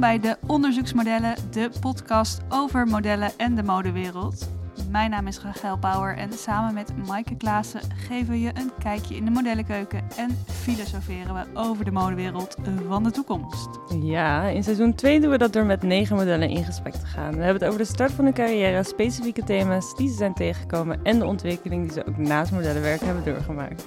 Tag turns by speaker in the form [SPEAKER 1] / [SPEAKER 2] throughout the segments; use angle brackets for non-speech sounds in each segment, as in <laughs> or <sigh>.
[SPEAKER 1] bij de Onderzoeksmodellen, de podcast over modellen en de modewereld. Mijn naam is Rachel Bauer en samen met Maaike Klaassen geven we je een kijkje in de modellenkeuken en filosoferen we over de modewereld van de toekomst.
[SPEAKER 2] Ja, in seizoen 2 doen we dat door met negen modellen in gesprek te gaan. We hebben het over de start van hun carrière, specifieke thema's die ze zijn tegengekomen en de ontwikkeling die ze ook naast modellenwerk hebben doorgemaakt.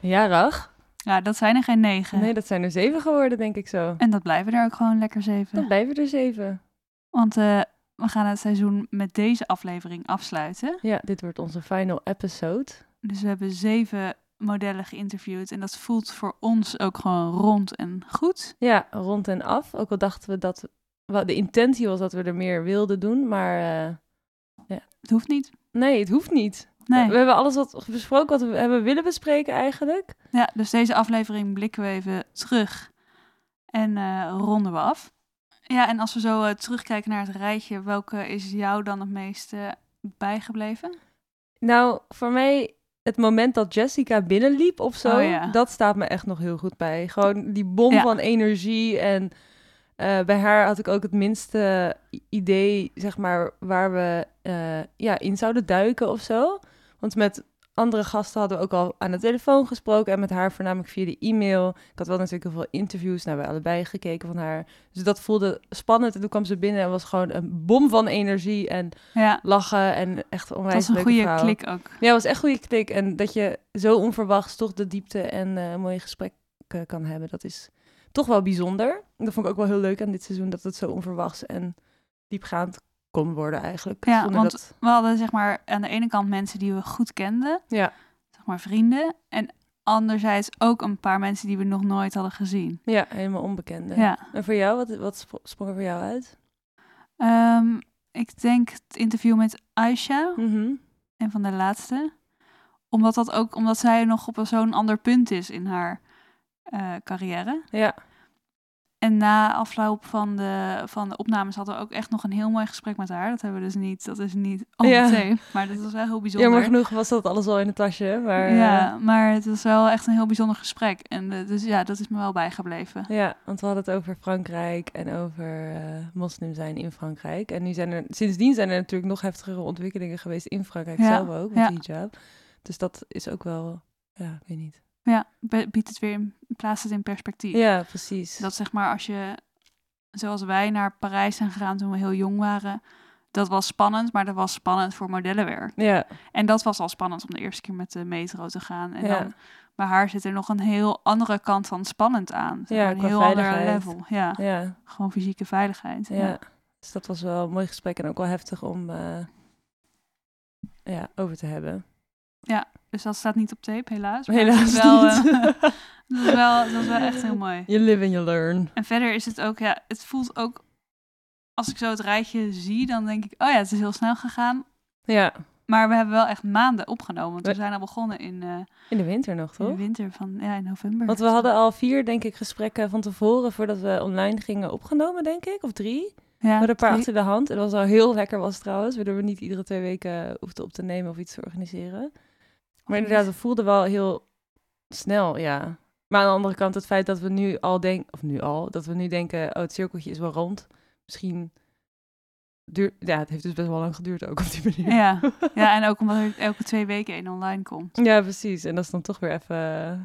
[SPEAKER 2] Ja, Rach?
[SPEAKER 1] Ja, dat zijn er geen negen.
[SPEAKER 2] Nee, dat zijn er zeven geworden, denk ik zo.
[SPEAKER 1] En dat blijven er ook gewoon lekker zeven.
[SPEAKER 2] Dan blijven er zeven.
[SPEAKER 1] Want eh, we gaan het seizoen met deze aflevering afsluiten.
[SPEAKER 2] Ja, dit wordt onze final episode.
[SPEAKER 1] Dus we hebben zeven modellen geïnterviewd en dat voelt voor ons ook gewoon rond en goed.
[SPEAKER 2] Ja, rond en af. Ook al dachten we dat... wel, De intentie was dat we er meer wilden doen, maar... eh,
[SPEAKER 1] Het hoeft niet.
[SPEAKER 2] nee, het hoeft niet.
[SPEAKER 1] Nee.
[SPEAKER 2] We hebben alles wat besproken wat we hebben willen bespreken eigenlijk.
[SPEAKER 1] Ja, dus deze aflevering blikken we even terug en eh, ronden we af. Ja, en als we zo eh, terugkijken naar het rijtje, welke is jou dan het meeste bijgebleven?
[SPEAKER 2] Nou, voor mij het moment dat Jessica binnenliep of zo,
[SPEAKER 1] Oh ja.
[SPEAKER 2] dat staat me echt nog heel goed bij. Gewoon die bom
[SPEAKER 1] Ja.
[SPEAKER 2] van energie en eh, bij haar had ik ook het minste i- idee, zeg maar, waar we eh, ja, in zouden duiken of zo. Want met andere gasten hadden we ook al aan de telefoon gesproken en met haar voornamelijk via de e-mail. Ik had wel natuurlijk heel veel interviews naar bij allebei gekeken van haar. Dus dat voelde spannend en toen kwam ze binnen en was gewoon een bom van energie en
[SPEAKER 1] Ja,
[SPEAKER 2] lachen en echt
[SPEAKER 1] dat
[SPEAKER 2] onwijs
[SPEAKER 1] was een
[SPEAKER 2] leuke
[SPEAKER 1] goede
[SPEAKER 2] vrouw.
[SPEAKER 1] klik ook.
[SPEAKER 2] Ja, het was echt een goede klik. En dat je zo onverwachts toch de diepte en eh, mooie gesprekken kan hebben, dat is toch wel bijzonder. Dat vond ik ook wel heel leuk aan dit seizoen, dat het zo onverwachts en diepgaand kon worden eigenlijk.
[SPEAKER 1] Ja,
[SPEAKER 2] Zonder
[SPEAKER 1] want-
[SPEAKER 2] dat-
[SPEAKER 1] We hadden zeg maar aan de ene kant mensen die we goed kenden,
[SPEAKER 2] Ja.
[SPEAKER 1] zeg maar vrienden, en anderzijds ook een paar mensen die we nog nooit hadden gezien.
[SPEAKER 2] ja helemaal onbekende.
[SPEAKER 1] Ja.
[SPEAKER 2] En voor jou, wat, wat spro- sprong er voor jou uit?
[SPEAKER 1] Ehm, ik denk het interview met Aisha
[SPEAKER 2] Mhm.
[SPEAKER 1] en van de laatste, omdat dat ook omdat zij nog op zo'n ander punt is in haar eh, carrière.
[SPEAKER 2] Ja,
[SPEAKER 1] En na afloop van de, van de opnames hadden we ook echt nog een heel mooi gesprek met haar. Dat hebben we dus niet, dat is niet on
[SPEAKER 2] Ja.
[SPEAKER 1] tape, maar dat was wel heel bijzonder.
[SPEAKER 2] jammer genoeg was dat alles al in het tasje. Maar, eh,
[SPEAKER 1] Ja, maar het was wel echt een heel bijzonder gesprek. En eh, dus ja, dat is me wel bijgebleven.
[SPEAKER 2] Ja, want we hadden het over Frankrijk en over eh, moslim zijn in Frankrijk. En nu zijn er, sindsdien zijn er natuurlijk nog heftigere ontwikkelingen geweest in Frankrijk
[SPEAKER 1] Ja,
[SPEAKER 2] zelf ook, met
[SPEAKER 1] ja.
[SPEAKER 2] hijab. Dus dat is ook wel, ja, ik weet niet.
[SPEAKER 1] Ja, be- biedt het weer, in- plaatst het in perspectief.
[SPEAKER 2] Ja, precies.
[SPEAKER 1] Dat zeg maar als je, zoals wij naar Parijs zijn gegaan toen we heel jong waren, dat was spannend, maar dat was spannend voor modellenwerk.
[SPEAKER 2] Ja,
[SPEAKER 1] En dat was al spannend om de eerste keer met de metro te gaan. En
[SPEAKER 2] Ja.
[SPEAKER 1] dan, bij haar zit er nog een heel andere kant van spannend aan. Zeg
[SPEAKER 2] Ja,
[SPEAKER 1] maar een
[SPEAKER 2] qua
[SPEAKER 1] heel ander
[SPEAKER 2] veiligheid.
[SPEAKER 1] level. Ja,
[SPEAKER 2] ja,
[SPEAKER 1] gewoon fysieke veiligheid.
[SPEAKER 2] ja, Dus dat was wel een mooi gesprek en ook wel heftig om eh, ja, over te hebben.
[SPEAKER 1] Dus dat staat niet op tape, helaas. Maar
[SPEAKER 2] Helaas
[SPEAKER 1] het is wel,
[SPEAKER 2] niet.
[SPEAKER 1] eh, dat, is wel, dat is wel echt heel mooi.
[SPEAKER 2] <laughs> you live and you learn.
[SPEAKER 1] En verder is het ook, ja, het voelt ook, als ik zo het rijtje zie, dan denk ik, oh ja, het is heel snel gegaan.
[SPEAKER 2] Ja,
[SPEAKER 1] Maar we hebben wel echt maanden opgenomen, want we
[SPEAKER 2] We-
[SPEAKER 1] zijn al begonnen in, eh,
[SPEAKER 2] in de winter nog,
[SPEAKER 1] in de
[SPEAKER 2] toch?
[SPEAKER 1] winter van, ja, in november.
[SPEAKER 2] Want we hadden al vier, denk ik, gesprekken van tevoren voordat we online gingen opgenomen, denk ik, of drie.
[SPEAKER 1] ja,
[SPEAKER 2] We hadden een paar
[SPEAKER 1] drie-
[SPEAKER 2] achter de hand. En dat was al heel lekker was trouwens. Waardoor we niet iedere twee weken eh, hoefden op te nemen of iets te organiseren. Maar inderdaad, we voelden wel heel snel, ja. Maar aan de andere kant, het feit dat we nu al denken, of nu al, dat we nu denken, oh, het cirkeltje is wel rond. Misschien duurt, ja, het heeft dus best wel lang geduurd ook op die manier.
[SPEAKER 1] Ja. ja, en ook omdat er elke twee weken één online komt.
[SPEAKER 2] Ja, precies. En dat is dan toch weer even eh,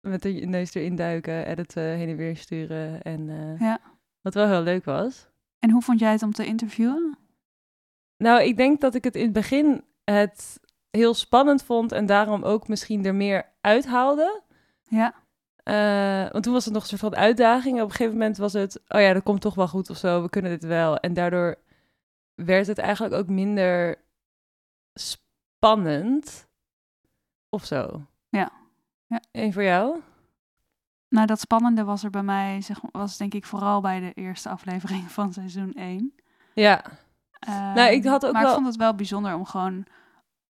[SPEAKER 2] met de neus erin duiken, editen, heen en weer sturen. En eh,
[SPEAKER 1] Ja.
[SPEAKER 2] wat wel heel leuk was.
[SPEAKER 1] En hoe vond jij het om te interviewen?
[SPEAKER 2] Nou, ik denk dat ik het in het begin het heel spannend vond en daarom ook misschien er meer uithaalde.
[SPEAKER 1] Ja,
[SPEAKER 2] Eh, want toen was het nog een soort van uitdaging. En op een gegeven moment was het, oh ja, dat komt toch wel goed of zo, we kunnen dit wel. En daardoor werd het eigenlijk ook minder spannend of zo.
[SPEAKER 1] Ja. Ja.
[SPEAKER 2] En voor jou?
[SPEAKER 1] nou dat spannende was er bij mij, zeg, was denk ik vooral bij de eerste aflevering <laughs> van seizoen 1.
[SPEAKER 2] Ja,
[SPEAKER 1] Ehm,
[SPEAKER 2] Nou, ik had ook
[SPEAKER 1] maar ik
[SPEAKER 2] wel-
[SPEAKER 1] vond het wel bijzonder om gewoon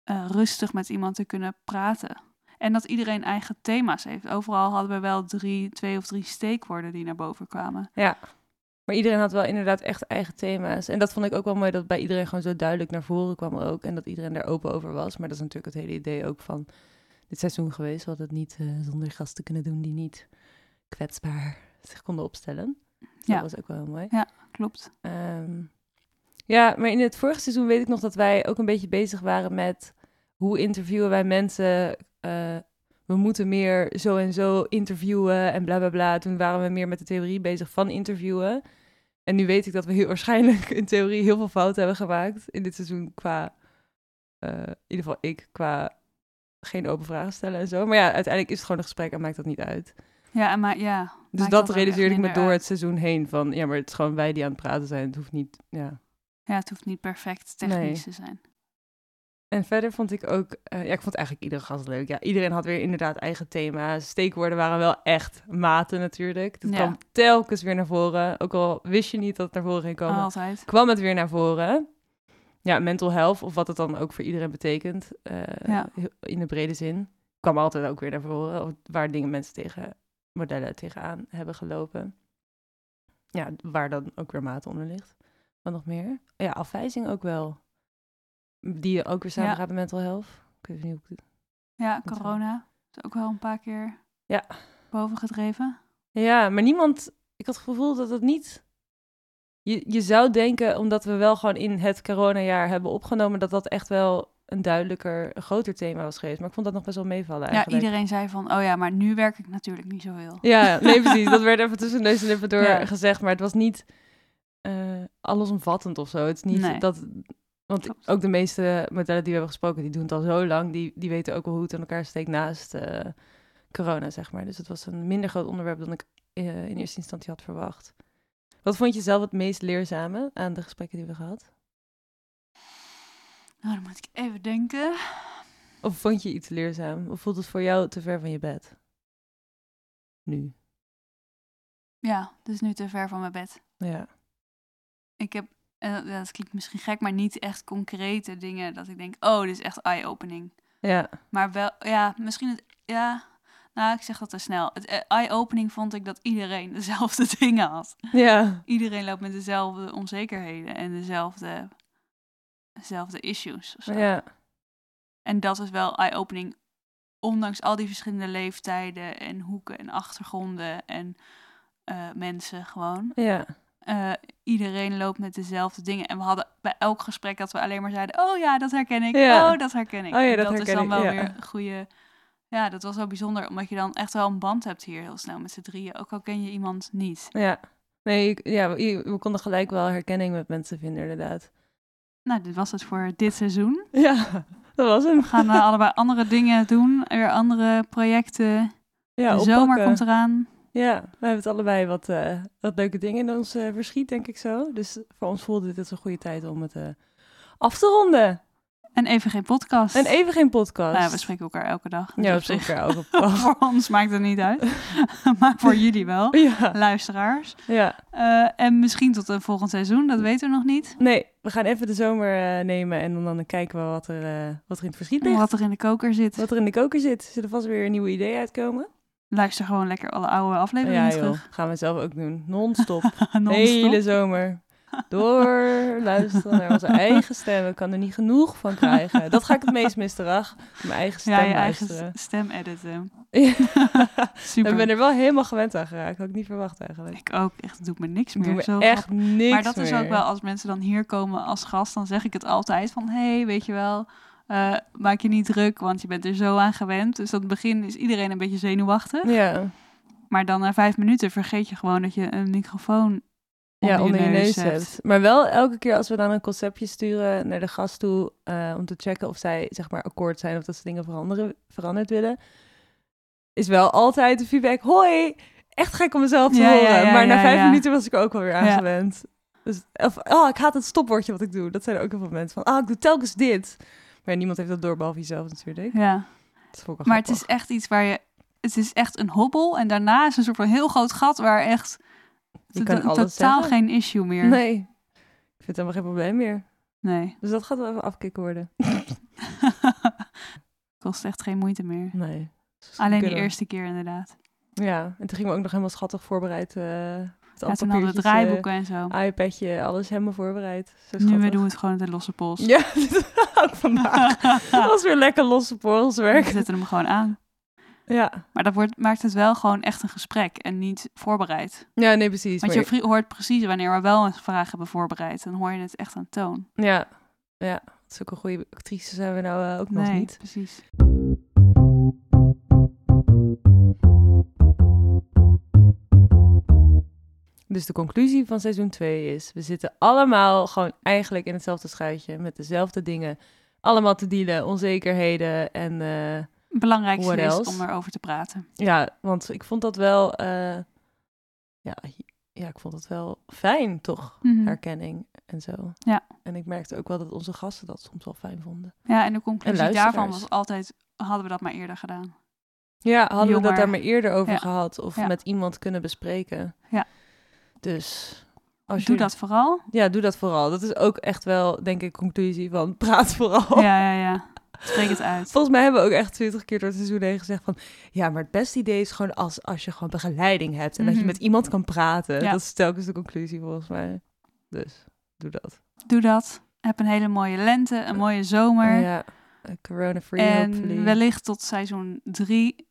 [SPEAKER 1] eh, rustig met iemand te kunnen praten. En dat iedereen eigen thema's heeft. Overal hadden we wel drie, twee of drie steekwoorden die naar boven kwamen.
[SPEAKER 2] Maar iedereen had wel inderdaad echt eigen thema's. En dat vond ik ook wel mooi dat bij iedereen gewoon zo duidelijk naar voren kwam ook. En dat iedereen daar open over was. Maar dat is natuurlijk het hele idee ook van dit seizoen geweest. We hadden het niet eh, zonder gasten kunnen doen die niet kwetsbaar zich konden opstellen. Dus
[SPEAKER 1] Ja.
[SPEAKER 2] Dat was ook wel heel mooi.
[SPEAKER 1] Klopt.
[SPEAKER 2] Ehm, ja, maar in het vorige seizoen weet ik nog dat wij ook een beetje bezig waren met hoe interviewen wij mensen. eh, we moeten meer zo en zo interviewen en bla bla bla. Toen waren we meer met de theorie bezig van interviewen. En nu weet ik dat we heel waarschijnlijk in theorie heel veel fouten hebben gemaakt in dit seizoen qua, eh, in ieder geval ik, qua geen open vragen stellen en zo. Maar ja, uiteindelijk is het gewoon een gesprek en maakt dat niet uit.
[SPEAKER 1] Ja, en maar ja.
[SPEAKER 2] Dus
[SPEAKER 1] Maakt dat
[SPEAKER 2] dat
[SPEAKER 1] ook echt
[SPEAKER 2] realiseerde ik me
[SPEAKER 1] minder
[SPEAKER 2] door
[SPEAKER 1] uit.
[SPEAKER 2] het seizoen heen van, ja, maar het is gewoon wij die aan het praten zijn. Het hoeft niet, ja.
[SPEAKER 1] ja, het hoeft niet perfect technisch te zijn.
[SPEAKER 2] En verder vond ik ook, eh, ja, ik vond eigenlijk iedere gast leuk. Ja, iedereen had weer inderdaad eigen thema's. Steekwoorden waren wel echt maten natuurlijk. Dat
[SPEAKER 1] Ja.
[SPEAKER 2] kwam telkens weer naar voren. Ook al wist je niet dat het naar voren ging komen,
[SPEAKER 1] Altijd.
[SPEAKER 2] kwam het weer naar voren. Ja, mental health, of wat het dan ook voor iedereen betekent, eh,
[SPEAKER 1] Ja.
[SPEAKER 2] heel- in de brede zin, kwam altijd ook weer naar voren. of Waar dingen mensen tegen, modellen tegenaan hebben gelopen. Ja, waar dan ook weer maat onder ligt. Wat nog meer? Ja, afwijzing ook wel. Die je ook weer samen
[SPEAKER 1] Ja.
[SPEAKER 2] gaat met mental health. Ik weet niet hoe ik dit-
[SPEAKER 1] Ja,
[SPEAKER 2] Wat dan?
[SPEAKER 1] corona is ook wel een paar keer
[SPEAKER 2] Ja.
[SPEAKER 1] boven gedreven.
[SPEAKER 2] Ja, maar niemand... Ik had het gevoel dat het niet... Je, je zou denken, omdat we wel gewoon in het coronajaar hebben opgenomen... dat dat echt wel een duidelijker, een groter thema was geweest. Maar ik vond dat nog best wel meevallen
[SPEAKER 1] Ja,
[SPEAKER 2] eigenlijk.
[SPEAKER 1] iedereen zei van, oh ja, maar nu werk ik natuurlijk niet zoveel. <laughs>
[SPEAKER 2] Ja, nee, precies. Dat werd even tussen neus en lippen door
[SPEAKER 1] Ja.
[SPEAKER 2] gezegd. Maar het was niet eh, allesomvattend of zo. Het is niet
[SPEAKER 1] Nee.
[SPEAKER 2] dat... Want
[SPEAKER 1] Klopt.
[SPEAKER 2] ook de meeste modellen die we hebben gesproken, die doen het al zo lang. Die, die weten ook wel hoe het aan elkaar steekt naast eh, corona, zeg maar. Dus het was een minder groot onderwerp dan ik eh, in eerste instantie had verwacht. Wat vond je zelf het meest leerzame aan de gesprekken die we gehad?
[SPEAKER 1] Nou, dan moet ik even denken.
[SPEAKER 2] Of vond je iets leerzaam? Of voelt het voor jou te ver van je bed? Nu.
[SPEAKER 1] Ja, dus nu te ver van mijn bed.
[SPEAKER 2] Ja.
[SPEAKER 1] Ik heb, eh, ja, dat klinkt misschien gek, maar niet echt concrete dingen dat ik denk, oh, dit is echt eye-opening.
[SPEAKER 2] Ja.
[SPEAKER 1] Maar wel, ja, misschien het, ja, nou, ik zeg dat te snel. Het eh, eye-opening vond ik dat iedereen <laughs> dezelfde dingen had.
[SPEAKER 2] Ja.
[SPEAKER 1] Iedereen loopt met dezelfde onzekerheden en dezelfde, dezelfde issues. of zo.
[SPEAKER 2] Ja.
[SPEAKER 1] En dat is wel eye-opening, ondanks al die verschillende leeftijden en hoeken en achtergronden en eh, mensen gewoon.
[SPEAKER 2] Ja.
[SPEAKER 1] Eh, iedereen loopt met dezelfde dingen. En we hadden bij elk gesprek dat we alleen maar zeiden, oh ja, dat herken ik,
[SPEAKER 2] Ja.
[SPEAKER 1] oh dat herken ik.
[SPEAKER 2] Oh ja,
[SPEAKER 1] En
[SPEAKER 2] dat
[SPEAKER 1] is
[SPEAKER 2] herken
[SPEAKER 1] dan
[SPEAKER 2] ik,
[SPEAKER 1] wel
[SPEAKER 2] ja.
[SPEAKER 1] weer een goede... Ja, dat was wel bijzonder, omdat je dan echt wel een band hebt hier heel snel met z'n drieën. Ook al ken je iemand niet.
[SPEAKER 2] Ja, nee, ik- ja, we we konden gelijk wel herkenning met mensen vinden, inderdaad.
[SPEAKER 1] Nou, dit was het voor dit seizoen.
[SPEAKER 2] <laughs> Ja, dat was hem.
[SPEAKER 1] We gaan
[SPEAKER 2] <laughs>
[SPEAKER 1] eh, allebei andere dingen doen, weer andere projecten.
[SPEAKER 2] Ja,
[SPEAKER 1] de zomer
[SPEAKER 2] oppakken.
[SPEAKER 1] komt eraan.
[SPEAKER 2] Ja, we hebben het allebei wat, eh, wat leuke dingen in ons eh, verschiet, denk ik zo. Dus voor ons voelde dit als een goede tijd om het eh, af te ronden.
[SPEAKER 1] En even geen podcast.
[SPEAKER 2] En even geen podcast.
[SPEAKER 1] Nou ja, we spreken elkaar elke dag. Dus
[SPEAKER 2] ja,
[SPEAKER 1] op zich. <laughs>
[SPEAKER 2] elkaar ook op af.
[SPEAKER 1] voor ons maakt het niet uit. <laughs> maar voor jullie wel,
[SPEAKER 2] <laughs> Ja,
[SPEAKER 1] luisteraars.
[SPEAKER 2] ja,
[SPEAKER 1] Eh, en misschien tot een volgend seizoen, dat weten we nog niet.
[SPEAKER 2] nee, we gaan even de zomer eh, nemen en dan, dan kijken we wat er, eh, wat er in het verschiet ligt.
[SPEAKER 1] Wat er in de koker zit.
[SPEAKER 2] Wat er in de koker zit. Zullen vast weer nieuwe ideeën uitkomen?
[SPEAKER 1] Luister gewoon lekker alle oude afleveringen
[SPEAKER 2] ja,
[SPEAKER 1] terug.
[SPEAKER 2] gaan we zelf ook doen. Non-stop.
[SPEAKER 1] <laughs> Non-stop.
[SPEAKER 2] hele zomer. Door luisteren
[SPEAKER 1] <laughs>
[SPEAKER 2] naar onze eigen stem. Ik kan er niet genoeg van krijgen. Dat ga ik het meest missen, Rach. Mijn eigen stem
[SPEAKER 1] ja, je eigen
[SPEAKER 2] luisteren.
[SPEAKER 1] s- stem editen. <laughs> Super.
[SPEAKER 2] ik ben er wel helemaal gewend aan geraakt. Had ik niet verwacht eigenlijk.
[SPEAKER 1] Ik ook. Echt, het doet me niks
[SPEAKER 2] Ik
[SPEAKER 1] meer.
[SPEAKER 2] doe me
[SPEAKER 1] Zo
[SPEAKER 2] echt niks
[SPEAKER 1] Maar dat is ook
[SPEAKER 2] meer.
[SPEAKER 1] wel, als mensen dan hier komen als gast, dan zeg ik het altijd van, hé, hey, weet je wel, eh, maak je niet druk, want je bent er zo aan gewend. Dus aan het begin is iedereen een beetje zenuwachtig.
[SPEAKER 2] Ja,
[SPEAKER 1] Maar dan na vijf minuten vergeet je gewoon dat je een microfoon onder,
[SPEAKER 2] ja onder
[SPEAKER 1] je, neus hebt.
[SPEAKER 2] Maar wel elke keer als we dan een conceptje sturen naar de gast toe... eh, om te checken of zij zeg maar akkoord zijn of dat ze dingen veranderen, veranderd willen... is wel altijd de feedback... Hoi, echt gek om mezelf te
[SPEAKER 1] Ja, ja,
[SPEAKER 2] horen.
[SPEAKER 1] ja,
[SPEAKER 2] maar na
[SPEAKER 1] ja,
[SPEAKER 2] vijf
[SPEAKER 1] ja.
[SPEAKER 2] minuten was ik er ook alweer aan
[SPEAKER 1] Ja.
[SPEAKER 2] gewend. Dus, of, oh, ik haat het stopwoordje wat ik doe. Dat zijn er ook heel veel mensen van... Ah, ik doe telkens dit. Maar ja, niemand heeft dat door, behalve jezelf natuurlijk.
[SPEAKER 1] Ja,
[SPEAKER 2] Dat vond ik wel
[SPEAKER 1] maar het is
[SPEAKER 2] grappig.
[SPEAKER 1] echt iets waar je, het is echt een hobbel en daarna is een soort van heel groot gat waar echt
[SPEAKER 2] Je kan
[SPEAKER 1] to-
[SPEAKER 2] alles
[SPEAKER 1] totaal
[SPEAKER 2] zeggen.
[SPEAKER 1] geen issue meer.
[SPEAKER 2] Nee, ik vind het helemaal geen probleem meer.
[SPEAKER 1] nee. <laughs>
[SPEAKER 2] Dus dat gaat wel even afkicken worden.
[SPEAKER 1] Kost echt geen moeite meer.
[SPEAKER 2] Nee.
[SPEAKER 1] Alleen die
[SPEAKER 2] Kunnen.
[SPEAKER 1] eerste keer inderdaad.
[SPEAKER 2] Ja, en toen gingen we ook nog helemaal schattig voorbereid. eh met
[SPEAKER 1] Ja,
[SPEAKER 2] alle
[SPEAKER 1] toen hadden we
[SPEAKER 2] papiertjes,
[SPEAKER 1] draaiboeken en zo.
[SPEAKER 2] eh, iPadje, alles helemaal voorbereid. Zo
[SPEAKER 1] Nu we
[SPEAKER 2] schattig.
[SPEAKER 1] doen we het gewoon met een losse pols.
[SPEAKER 2] Ja, <laughs>
[SPEAKER 1] <laughs>
[SPEAKER 2] oké. vandaag. Dat <laughs> was weer lekker losse
[SPEAKER 1] We
[SPEAKER 2] porrelswerk.
[SPEAKER 1] zetten hem gewoon aan.
[SPEAKER 2] Ja.
[SPEAKER 1] Maar dat wordt, maakt het wel gewoon echt een gesprek en niet voorbereid.
[SPEAKER 2] ja, nee, precies.
[SPEAKER 1] Want
[SPEAKER 2] maar-
[SPEAKER 1] je vri- hoort precies wanneer we wel een vraag hebben voorbereid. Dan hoor je het echt aan toon.
[SPEAKER 2] Ja, ja. Zulke goede actrices zijn we nou eh, ook nog
[SPEAKER 1] nee,
[SPEAKER 2] niet.
[SPEAKER 1] precies.
[SPEAKER 2] Dus de conclusie van seizoen 2 is: we zitten allemaal gewoon eigenlijk in hetzelfde schuitje met dezelfde dingen. Allemaal te dealen, onzekerheden en eh,
[SPEAKER 1] Het belangrijkste
[SPEAKER 2] What
[SPEAKER 1] is
[SPEAKER 2] else?
[SPEAKER 1] om erover te praten.
[SPEAKER 2] ja, want ik vond dat wel, eh, ja, ja, ik vond dat wel fijn toch,
[SPEAKER 1] Mhm.
[SPEAKER 2] herkenning en zo.
[SPEAKER 1] Ja.
[SPEAKER 2] En ik merkte ook wel dat onze gasten dat soms wel fijn vonden.
[SPEAKER 1] Ja, en de conclusie
[SPEAKER 2] luisteraars. Oh,
[SPEAKER 1] daarvan was altijd, hadden we dat maar eerder gedaan.
[SPEAKER 2] Ja, hadden we dat
[SPEAKER 1] Jonger.
[SPEAKER 2] daar maar eerder over
[SPEAKER 1] Ja.
[SPEAKER 2] gehad of
[SPEAKER 1] Ja.
[SPEAKER 2] met iemand kunnen bespreken.
[SPEAKER 1] Ja.
[SPEAKER 2] Dus als
[SPEAKER 1] Doe
[SPEAKER 2] je
[SPEAKER 1] dat
[SPEAKER 2] <laughs>
[SPEAKER 1] vooral.
[SPEAKER 2] Ja, doe dat vooral. Dat is ook echt wel, denk ik, conclusie van praat vooral.
[SPEAKER 1] Ja, ja, ja. Spreek het uit.
[SPEAKER 2] Volgens mij hebben we ook echt twintig keer door het seizoen heen gezegd van... Ja, maar het beste idee is gewoon als, als je gewoon begeleiding hebt... en dat
[SPEAKER 1] Mhm.
[SPEAKER 2] je met iemand kan praten.
[SPEAKER 1] Ja.
[SPEAKER 2] Dat is telkens de conclusie volgens mij. Dus, doe dat.
[SPEAKER 1] Doe dat. Heb een hele mooie lente, een mooie zomer.
[SPEAKER 2] Eh, ja, eh, corona-free hopefully.
[SPEAKER 1] en wellicht tot seizoen 3.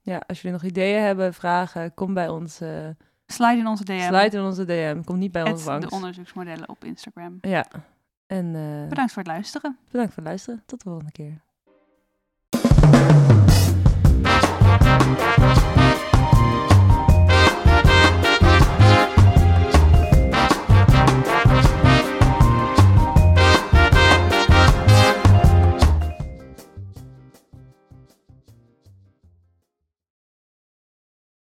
[SPEAKER 2] Ja, als jullie nog ideeën hebben, vragen... kom bij ons, eh
[SPEAKER 1] Slide in onze DM.
[SPEAKER 2] sluit in onze DM. Kom niet bij ons
[SPEAKER 1] at
[SPEAKER 2] langs.
[SPEAKER 1] de onderzoeksmodellen op Instagram.
[SPEAKER 2] Ja, en eh,
[SPEAKER 1] Bedankt voor het luisteren.
[SPEAKER 2] bedankt voor het luisteren. Tot de volgende keer.